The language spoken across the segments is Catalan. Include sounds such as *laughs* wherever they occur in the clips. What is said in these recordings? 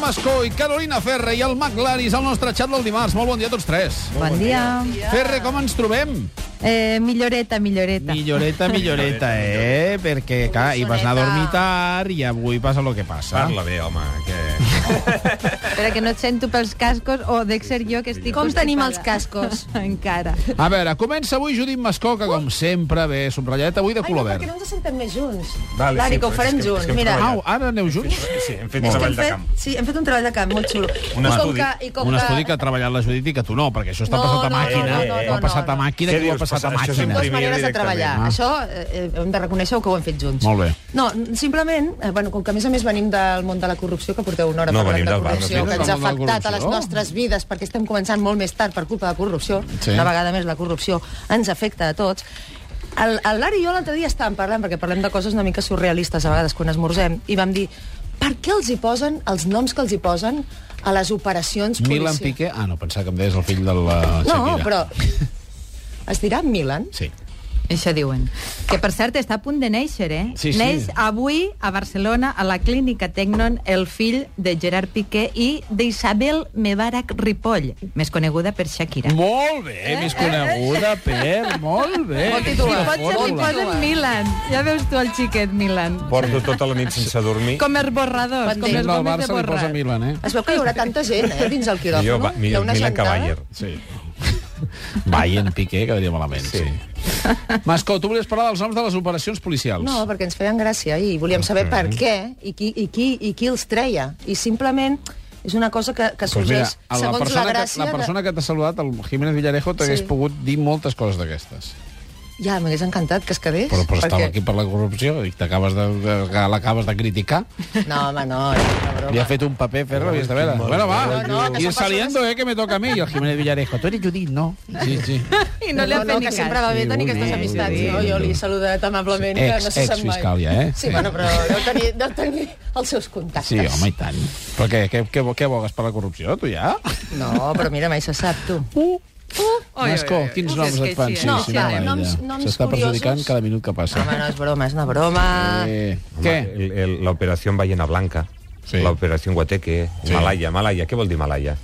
Mascó i Carolina Ferre i el Mac Laris al nostre xat del dimarts. Molt bon dia a tots tres. Bon dia. Ferre, com ens trobem? Eh, milloreta, milloreta. *laughs* Milloreta, milloreta, eh? Perquè, clar, hi vas anar a dormir tard i avui passa el que passa. Parla bé, home, que... Espera que no et sento pels cascos o dec ser jo que estic... Com tenim els constipada. cascos? Encara. A veure, comença avui Judit Mascó, que com sempre ve subratlladeta avui de color verd. ens sentem més junts? Vale, Lari, sí, que ho però farem és que- junts. és que hem Mira, treballat. Au, ara aneu junts? Sí, hem fet és que treball hem de fet, camp. sí, hem fet un treball de camp molt xulo. Un I com estudi. Que, *laughs* i com Un que- estudi que ha treballat la Judit i que tu no, perquè això està No, passat a no, màquina. no, no, no, ho ha passat a no, no. màquina Què i ho ha dius? passat a Això és màquina. Dos imprimir maneres de directament. treballar. Ah. Això eh, hem de reconèixer que ho hem fet junts. Molt bé. No, simplement, eh, bueno, com que a més a més venim del món de la corrupció, que porteu una hora No, parlant venim de del bar, corrupció, no que sé. ens ha Del món de la afectat a les corrupció. nostres vides, perquè estem començant molt més tard per culpa de corrupció, Sí. sí. una vegada més la corrupció ens afecta a tots, el, el Lari i jo l'altre dia estàvem parlant, perquè parlem de coses una mica surrealistes a vegades quan esmorzem, i vam dir, per què els hi posen els noms que els hi posen a les operacions Milan policials? Piqué... Ah, no, pensava que em deies el fill de la Shakira. No, però... Es dirà Milan? Sí. Això diuen. Que, per cert, està a punt de néixer, eh? Sí, sí. Neix avui a Barcelona, a la clínica Tecnon, el fill de Gerard Piqué i d'Isabel Mebarak Ripoll, més coneguda per Shakira. Molt bé, eh? més coneguda, Per, molt bé. Molt Si titular. pot ser, li Fórmula. posen Milan. Ja veus tu el xiquet Milan. Porto tota la nit sense dormir. Com els borradors, com els Sembla el gomes de Barça li posa borrar. Milan, eh? Es veu que hi haurà tanta gent, eh, dins el quiròfano. Millor, va, Hi ha millor una Milan que gentada. Bayer. Sí. Bayern Piqué quedaria malament, sí. sí. Mascó, tu volies parlar dels noms de les operacions policials. No, perquè ens feien gràcia i volíem saber per Mm-hmm. què i qui, i qui, i qui els treia. I simplement és una cosa que, que Doncs mira, sorgeix a la segons la persona, que, gràcia... la persona que t'ha saludat, el Jiménez Villarejo, t'hagués Sí. pogut dir moltes coses d'aquestes. de... Ja, m'hagués encantat que es quedés. Però, però estava perquè- aquí per la corrupció i t'acabes de, de, de l'acabes de criticar. No, home, no, és una broma. Li ha fet un paper, fer-lo, havies de veure. Bueno, va, No, no, que ir són saliendo, eh, que me toca a mi. I el Jiménez Villarejo, tu eres Judit, no? Sí, *laughs* sí. I no li ha no, fet que ni sempre cas. va bé tenir Sí, aquestes sí, amistats, sí, no? sí. Jo l'he saludat amablement i que Ex- no se sap mai. exfiscal ja, eh? Sí, Sí. bueno, però deu tenir, deu tenir els seus contactes. Sí, home, i tant. Però què, què, què, què bogues per la corrupció, tu ja? No, però mira, mai se sap, tu. Uh, Oi, oi, Nascó, oi, oi. quins Uf, noms és que et fan? sí, Sí, eh? sí, No, no, clar, vaja. noms- noms S'està perjudicant curiosos. cada minut que passa. Home, no, és broma, és una broma. Eh, Home, què? el- el- L'operació Ballena Blanca, Sí. l'operació Guateque, Sí. Malaya, Malaya, què vol dir Malaya?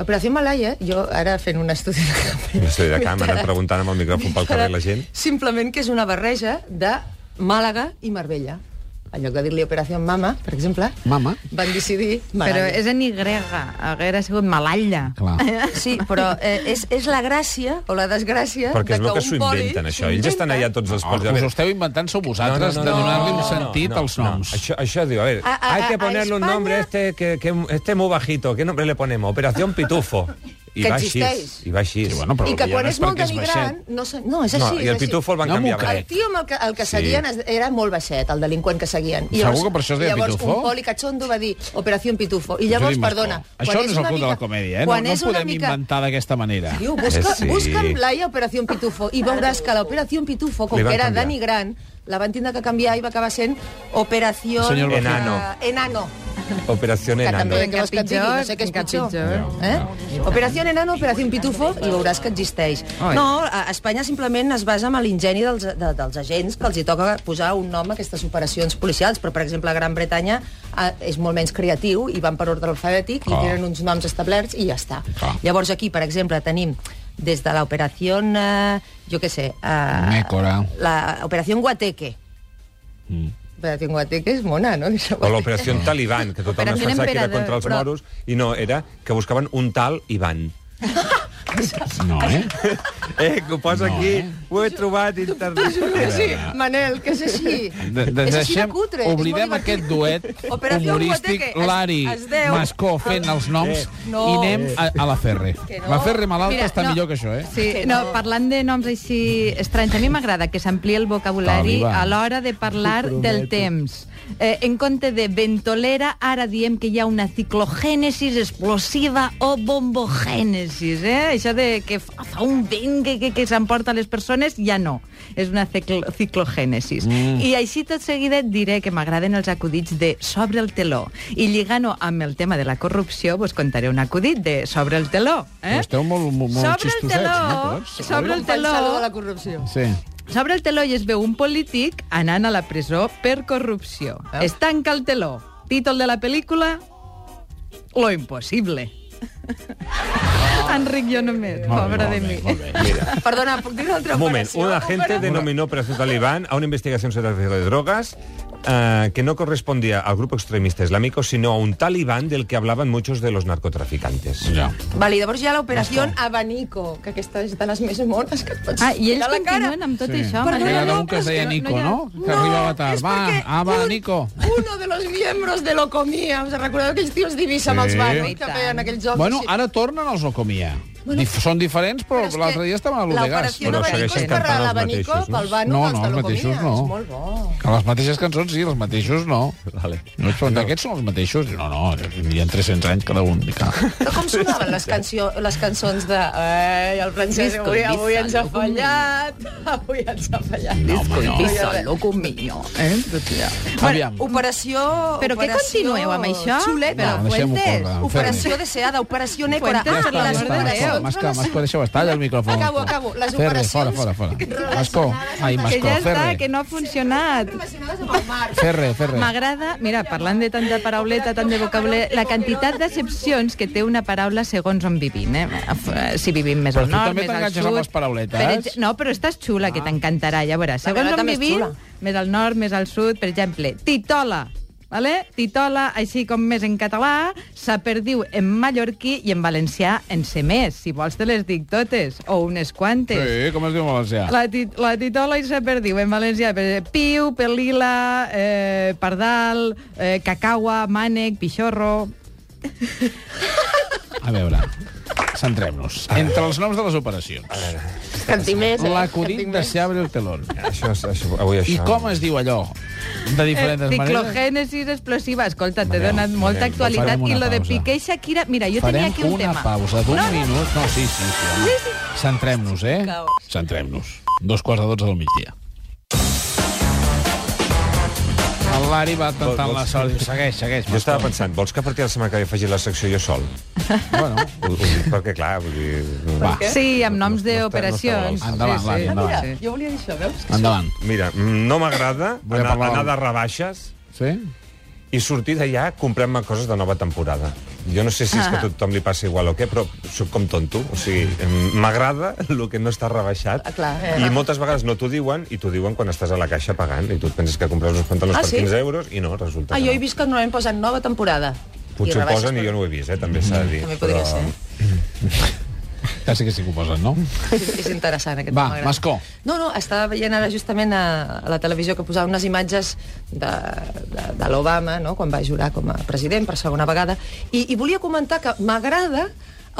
L'operació Malaya, jo ara fent un estudi de camp... Un estudi de camp, ha anat preguntant amb el micròfon pel carrer la gent. Simplement que és una barreja de Màlaga i Marbella. En lloc de dir-li Operació Mama, per exemple, Mama? van decidir Però Malaya. és en Y, hauria sigut Malalla. Clar. Sí, però eh, és, és la gràcia o la desgràcia Perquè de es veu que un s'ho poli inventen, això. Ells estan allà tots els Oh, pols. us ho esteu inventant, sou vosaltres, de donar-li un sentit als noms. Això, això diu, a ver, A- a- hay que a ponerle un España- nombre a este, que, que este muy bajito. ¿Qué nombre le ponemos? Operación Pitufo. I Que va així. existeix. I va així. Sí, bueno, però I que ja quan no és és molt perquè és denigrant... baixet. No, sé, no, és No, així. i el és així. Pitufo el van No m'ho canviar. eh? per- El tio amb el que, el que Sí. seguien es- era molt baixet, el delinqüent que seguien. I Segur que per això es deia llavors Pitufo? un poli catxondo va dir Operació Pitufo. I llavors, Judit Mascó, perdona... Això quan no és el una club de la mica- comèdia, eh? No, quan no és una podem mica- inventar d'aquesta manera. Diu, busca, Eh, sí. busca en Playa Operación Pitufo i veuràs que l'Operación Pitufo, com Li van que era canviar. denigrant, la van tindre que canviar i va acabar sent Operación... Senyor eh, Enano. Enano. Operación Que Enano. també, què vols que et digui? No sé què és Encara pitjor. pitjor. Eh? Operación Enano, Operación Pitufo, i veuràs que existeix. Oi. No, a Espanya simplement es basa en l'ingeni dels, de, dels agents que els hi toca posar un nom a aquestes operacions policials, però, per exemple, a Gran Bretanya eh, és molt menys creatiu i van per ordre alfabètic i Ah. Clar. tenen uns noms establerts i ja està. Clar. Llavors aquí, per exemple, tenim des de l'operació, eh, jo què sé... Eh, Mécora. La operació Guateque. Mm. Operació Guateque és mona, no? O l'operació *laughs* Talibán, que tothom es Operación pensava que era Emperador, contra els però- moros, i no, era que buscaven un tal *laughs* Ivan. No, eh? Eh, que ho posa No, aquí, eh? ho he trobat *laughs* internet. Sí, Manel, que és així. De, de, és així de deixem, cutre. oblidem és molt aquest divertit. duet *laughs* Operació humorístic, Guateque, es- Lari es deu. Eh, Mascó fent els noms, No. i anem a, a la Ferre. no. La Ferre malalta Mira, està no. millor que això, eh? Sí, Que no, no. parlant de noms així estranys, a mi m'agrada que s'ampli el vocabulari Taliban. a l'hora de parlar del temps. Eh, en compte de ventolera, ara diem que hi ha una ciclogènesis explosiva o bombogènesis, eh? Això de que fa fa un vent que, que, que s'emporta les persones, ja no. És una ciclo ciclogènesis. Mm. I així tot seguida et diré que m'agraden els acudits de sobre el teló. I lligant-ho amb el tema de la corrupció, vos contaré un acudit de sobre el teló. Eh? Però esteu molt- molt- molt sobre el xistosets, teló, no, tots? sobre el teló, Pensar-ho de la corrupció. Sí. sobre el teló i es veu un polític anant a la presó per corrupció. Eh? Es tanca el teló. Títol de la pel·lícula, lo *laughs* impossible. Enric, jo només, Molt bé, pobre de molt bé, mi. molt bé. Mira, Perdona, puc dir una altra Un moment, operació? un agente denominó Operación Talibán a una investigación sobre tráfico de drogas eh, que no correspondía al grupo extremista islámico, sino a un talibán del que hablaban muchos de los narcotraficantes. ja. Vale, i llavors hi ha l'operació Abanico, que aquesta és de les més mones que et pots Ah, i ells ficar a la cara. continuen amb tot Sí. això. Perquè Manel. hi havia un que però es és deia que no- Nico, hi ha- no? Que arribava tard. és Va, perquè ava, un- Nico. Uno de los miembros de lo comía. Us recordeu aquells tios divis amb Sí. els I barros que tant. feien aquells jocs? Bueno, així? ara tornen els Ocomia. Bueno, Dif són diferents, però, Però és que l'altre dia estaven a l'Udegas. L'operació Però Abanico segueixen és per a cantant els l'Abanico, mateixos, no? pel Banu, No, dels no, els de lo mateixos comía. no. És molt bo. Que les mateixes cançons, sí, els mateixos no. Vale. No, són d'aquests són els mateixos. No, no, hi ha 300 anys cada un. dic, ah. Però com sonaven les, canció, les cançons de... Ei, el francès Disco, avui, avui disco, ens ha loco fallat. *laughs* Avui ens ha fallat. No, home, no. Disco, disco, loco mío. Aviam. Operació... Però què operació continueu amb això? Xuleta. Va, deixem-ho Fuentes, córrer, en Operació deseada, operació Nécora. Fuentes, Ja Ah, està, ja les està, operacions, Mascó, Mascó, Mascó, deixeu estar allà el micròfon. eh, Acabo, Mascó. acabo. Les Ferre, operacions fora, fora, fora. Mascó, ai, Que Mascó, ja està, Ferre. que no ha funcionat. Relacionades amb el mar. Ferre, Ferre. M'agrada, mira, parlant de tanta parauleta, tant de vocable, la quantitat d'accepcions que té una paraula segons on vivim, eh? F- Si vivim més Però al tu nord, també més al t'enganxes sud... amb les parauletes? Ah. ex- no, però estàs xula, que t'encantarà, ja veuràs. Segons Violeta on més vivim, xula. més al nord, més al sud, per exemple, titola, Vale? Titola, així com més en català, se perdiu en mallorquí i en valencià en sé més. Si vols te les dic totes, o unes quantes. Sí, com es diu en valencià? La, tit la titola i se perdiu en valencià. per- Piu, pelila, eh, pardal, eh, cacaua, mànec, pixorro... A veure, centrem-nos. Entre els noms de les operacions. Cantimés, eh? La Corinda se abre el telón. Això, és- això, avui I això... com es diu allò? De Eh, diferents maneres. Ciclogènesis explosiva. Escolta, t'he Manel, donat molta Manel, actualitat. farem una I lo de pausa. Piqué i Shakira... Mira, jo tenia Farem aquí un una tema. pausa d'un minut. No, sí, sí, sí. home. Centrem-nos, eh? Centrem-nos. Dos quarts de dotze del migdia. El Lari va tentant Vols- la sort. Diu, Segueix, segueix. Jo estava Mascó. pensant, vols que a partir de la setmana que ve faci la secció jo sol? Bueno, Ho, ho dic perquè, clar, vull dir... va, Sí, amb noms No- no està- no d'operacions. està Endavant, sí, Lari, sí. endavant. Sí. Jo volia dir això, veus? endavant. Mira, mm, no m'agrada Vull anar, parlar- anar de rebaixes Sí? i sortir d'allà comprant-me coses de nova temporada. Jo no sé si és Ah. que a tothom li passa igual o què, però sóc com tonto. O sigui, em- m'agrada el que no està rebaixat. Ah, clar, eh. I moltes vegades no t'ho diuen, i t'ho diuen quan estàs a la caixa pagant, i tu et penses que compres uns pantalons Ah, per sí? 15 euros, i no, resulta Ah, que jo no. he vist que normalment posen nova temporada. Potser ho rebaixes, Mm, posen i jo no ho he vist, eh? també s'ha de dir. També podria ser. Ja sé que sí que ho posen, no? És, és interessant, aquest Va, tema, m'agrada. Mascó. No, no, estava veient ara justament a, a la televisió que posava unes imatges de, de, de l'Obama, no?, quan va jurar com a president per segona vegada, i, i volia comentar que m'agrada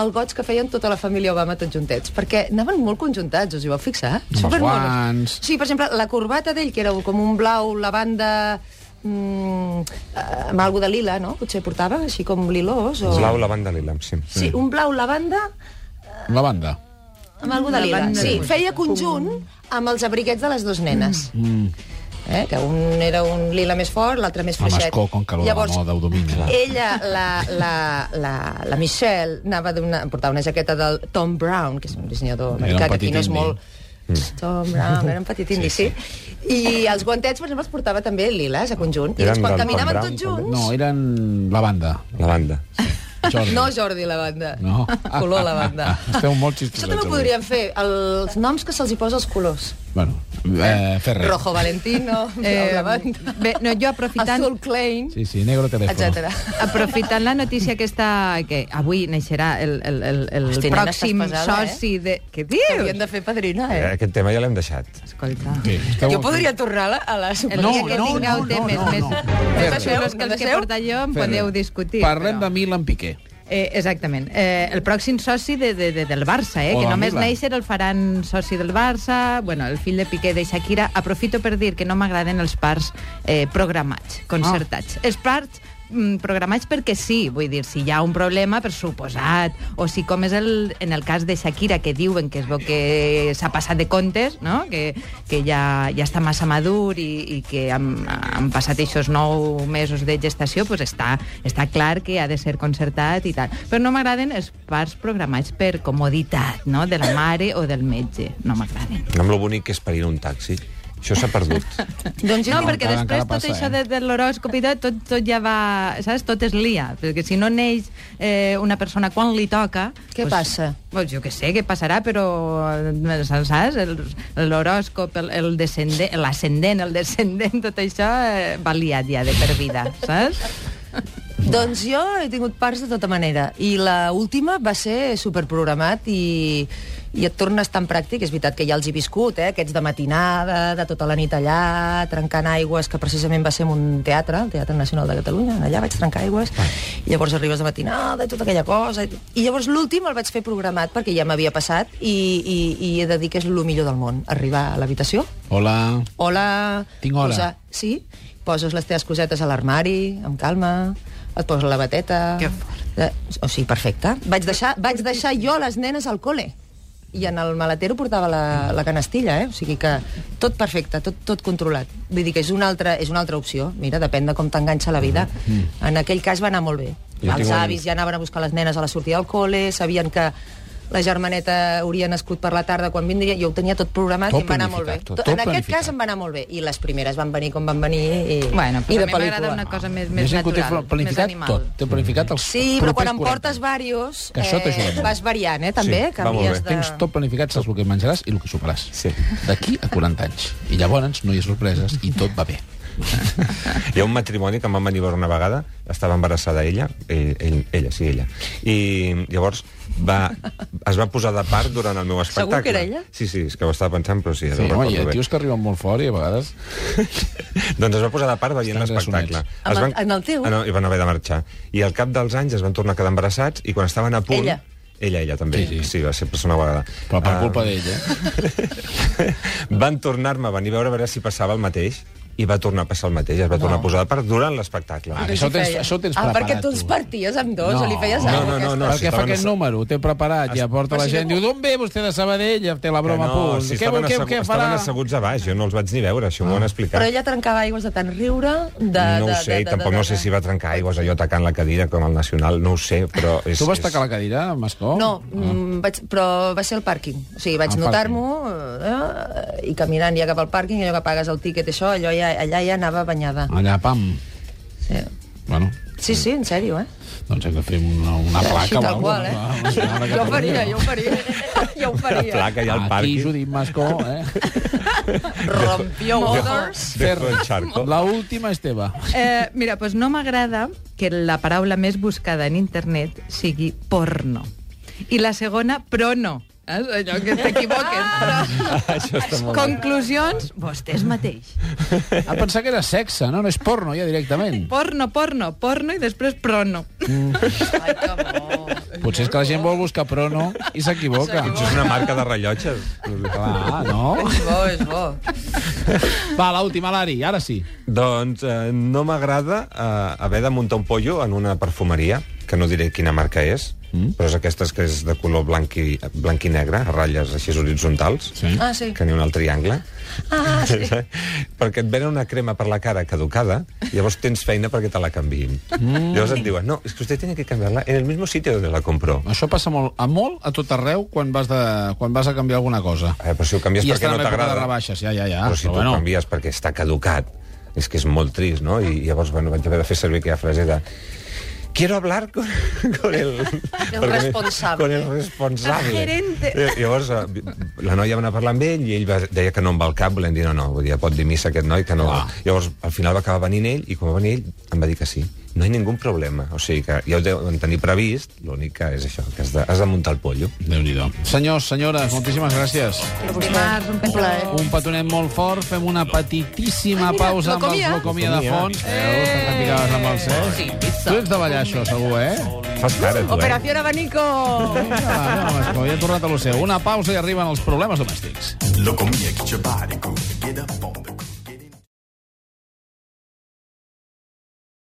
el goig que feien tota la família Obama tots juntets, perquè anaven molt conjuntats, us hi vau fixar? els Supermonos. guants. Sí, per exemple, la corbata d'ell, que era com un blau, lavanda... Mm, eh, amb alguna de lila, no? Potser portava, així com lilós. O... Blau, lavanda, lila, sí. Sí, un blau, lavanda, La banda. amb algú de lila. banda Sí, de- feia conjunt amb els abriguets de les dues nenes. Mm. Eh, que un era un lila més fort, l'altre més Home, fluixet. escó, com que lo de la Llavors, moda ho domina. Ella, la, la, la, la Michelle, anava d'una... portava una jaqueta del Tom Brown, que és un Era dissenyador un americà, que petit aquí no és indi. Mm. molt... Tom Brown, era un petit indi, sí, sí. I els guantets, per exemple, els portava també liles a conjunt. I Eren llavors, quan del Tom caminaven Brown, tots junts... No, eren la banda. Lavanda. Jordi. No Jordi Lavanda. No. Color Lavanda. Esteu molt Això xistosets, també ho avui. podríem fer, els noms que se'ls hi posa als colors. Bueno, eh, Ferrer. Rojo Valentino, eh, Lavanda, bé, no, jo aprofitant... Azul Klein, Sí, sí, negro teléfono. etc. Aprofitant la notícia aquesta, que avui naixerà el, el, el, el Hosti, nena, pròxim estàs pesada, eh? soci de... Què Havien dius? de fer padrina, Eh, eh? Aquest tema ja l'hem deixat. Escolta... Sí, esteu- Jo podria tornar a la, a la El super... no, dia que no, tingueu no, temes no, no, més, no. més Ferrer. xulos que No els que deixeu? porta jo em Ferrer. podeu discutir. Parlem però- de Milan Piqué. Eh, exactament. Eh, el pròxim soci de, de, de, del Barça, eh, O que del només Milan. néixer el faran soci del Barça, bueno, el fill de Piqué de Shakira. Aprofito per dir que no m'agraden els parts eh, programats, concertats. Els parts mm, programats perquè sí, vull dir, si hi ha un problema, per suposat, o si com és el, en el cas de Shakira, que diuen que es veu que s'ha passat de comptes, no? que, que ja, ja està massa madur i, i que han, han passat aquests nou mesos de gestació, doncs està, està clar que ha de ser concertat i tal. Però no m'agraden els parts programats per comoditat, no? de la mare o del metge. No m'agraden. Amb lo bonic que és parir un taxi. Això s'ha *laughs* perdut. No, Doncs jo perquè encara- després encara tot passa, eh? això de, de l'horòscop i tot, tot, tot ja va... Saps? Tot es lia. Perquè si no neix eh, una persona quan li toca... Què passa? Pues, jo què sé, què passarà, però... eh, Saps? saps? El- L'horòscop, el- el descendent- l'ascendent, el, descendent, tot això eh, va liat ja de per vida, saps? Doncs jo he tingut parts de tota manera. I la última va ser superprogramat i, i et tornes tan pràctic. És veritat que ja els he viscut, eh? Aquests de matinada, de tota la nit allà, trencant aigües, que precisament va ser en un teatre, el Teatre Nacional de Catalunya, allà vaig trencar aigües. I llavors arribes de matinada i tota aquella cosa. I llavors l'últim el vaig fer programat perquè ja m'havia passat i, i, i he de dir que és el millor del món. Arribar a l'habitació, Hola. Hola. Tinc hora. Posar... Sí, poses les teves cosetes a l'armari, amb calma, et poses la bateta... Que fort. Eh, o sigui, perfecte. Vaig deixar, vaig deixar jo les nenes al col·le. I en el maletero portava la, la canastilla, eh? O sigui que tot perfecte, tot, tot controlat. Vull dir que és una altra, és una altra opció. Mira, depèn de com t'enganxa la vida. Mm-hmm. En aquell cas va anar molt bé. Jo Els tinc un- avis ja anaven a buscar les nenes a la sortida del col·le, sabien que la germaneta hauria nascut per la tarda quan vindria, jo ho tenia tot programat Tot i em va anar molt bé. planificat, tot- tot en aquest planificat. cas em va anar molt bé. I les primeres van venir com van venir i, Bueno, i però a de mi pel·lícula. m'agrada una cosa més, Jo més sé que ho té natural, més planificat animal. tot. Té planificat els Sí, però quan en propers portes 40. varios, Que això t'ajuda molt. vas variant, eh, també. Sí, va molt canvies bé. de... Tens tot planificat, saps el que menjaràs i el que soparàs. Sí. D'aquí a 40 anys. I llavors no hi ha sorpreses i tot va bé. Hi ha un matrimoni que em van venir a veure una vegada, estava embarassada ella, ell, ell, ella, sí, ella, i llavors va, es va posar de part durant el meu espectacle. que era ella? Sí, sí, és que ho estava pensant, però sí, ara Sí, ho home, hi recordo ha bé. tios que arriben molt fort i a vegades... Doncs es va posar de part veient Estan l'espectacle. grassonets. Amb el- en el teu? Ah, no, I van haver de marxar. I al cap dels anys es van tornar a quedar embarassats i quan estaven a punt... Ella. Ella, ella també. Sí, Sí, sí. sí. sí va ser persona vegada. Però per Ah, culpa d'ell, eh? van tornar-me a venir a veure a veure si passava el mateix i va tornar a passar el mateix. Es va tornar a posar de part durant l'espectacle. Ah, Però això ho si tens- feia- això ho tens ah, perquè preparat, tu els tu. parties amb dos, No. o li feies No, alguna no, no, cosa. No, no, Perquè si fa estaven aquest asse- número, ho té preparat, ja porta la si gent, no- diu, d'on ve vostè de Sabadell? Ja té la broma, Que no, pur. si Què, estaven, què, assegu- què estaven farà? Ah. asseguts a baix, jo no els vaig ni veure, això m'ho han explicat. Però ella trencava aigües de tant riure... De, no de, ho sé, de, i de, tampoc de, no de, sé si va trencar aigües allò tacant la cadira com el Nacional, no ho sé, però... És, Tu vas és- tacar la cadira, Mascó? No, mm, vaig, però va ser el pàrquing. O sigui, vaig Ah. Al notar-m'ho eh, i caminant ja cap al pàrquing, allò que pagues el tíquet, això, allò ja, allà ja anava banyada. Allà, pam. Sí. Bueno, Sí, sí, en sèrio, eh? doncs hem de fer una, una placa. Així, tal o qual, alguna cosa, eh? una senyora que *laughs* Jo ho torni, faria, no? jo ho *laughs* faria. Jo ho La faria. placa i el pàrquing. Aquí, Judit Mascó, eh? Rompió motors. Dentro del charco. La última és teva. Eh, mira, doncs no m'agrada que la paraula més buscada en internet sigui porno. I la segona, prono. Eh? Allò que t'equivoques. Ah, Això està però... molt bé. Conclusions, vostès mateix. A pensar Ah, que era sexe, no? No és porno, ja, directament. Porno, porno, porno i després prono. Ai, que bo. Potser és que la gent vol buscar prono i s'equivoca. Això és una marca de rellotges. Clar, no? És bo, és bo. Va, l'última, Lari, ara sí. Doncs eh, no m'agrada eh, haver de muntar un pollo en una perfumeria, que no diré quina marca és, mm. però és aquestes que és de color blanc i, blanc i negre, a ratlles així horitzontals, Sí. Ah, sí. que n'hi ha un al triangle. Ah, sí. *laughs* perquè et venen una crema per la cara caducada, i llavors tens feina perquè te la canviïn. Mm. Llavors et diuen, no, és que usted tiene que cambiarla en el mismo sitio donde la compró. Això passa molt, a molt a tot arreu quan vas, de, quan vas a canviar alguna cosa. Eh, però si ho canvies I perquè estan no en època de t'agrada... rebaixes, ja, ja, ja. Ah, però si tu bueno. canvies perquè està caducat, és que és molt trist, no? I llavors, bueno, vaig haver de fer servir aquella frase de... Quiero hablar con, con el... perquè- responsable. Con el responsable. El gerente. Eh, Llavors, eh, la noia va anar a parlar amb ell i ell va, deia que no em va al cap, volent dir, no, no, vull dir, pot dir missa aquest noi, que no... Ah. Llavors, al final va acabar venint ell i quan va venir ell em va dir que sí. No hi ha ningú problema. O sigui que ja ho deuen tenir previst, l'únic que és això, que has de, has de muntar el pollo. Déu-n'hi-do. Senyors, senyores, moltíssimes gràcies. Dimarts, un petó. Un petonet molt fort, fem una petitíssima pausa amb els Locomia. Locomia de fons. Veus, que t'apicaves amb el cel. Tu ets de ballar, això, segur, eh? Fas cara, tu, eh? Operación Abanico. Ah, no, Mascó, ja he tornat a lo seu. Una pausa i arriben els problemes domèstics. Look at me, get your body groove. Get up on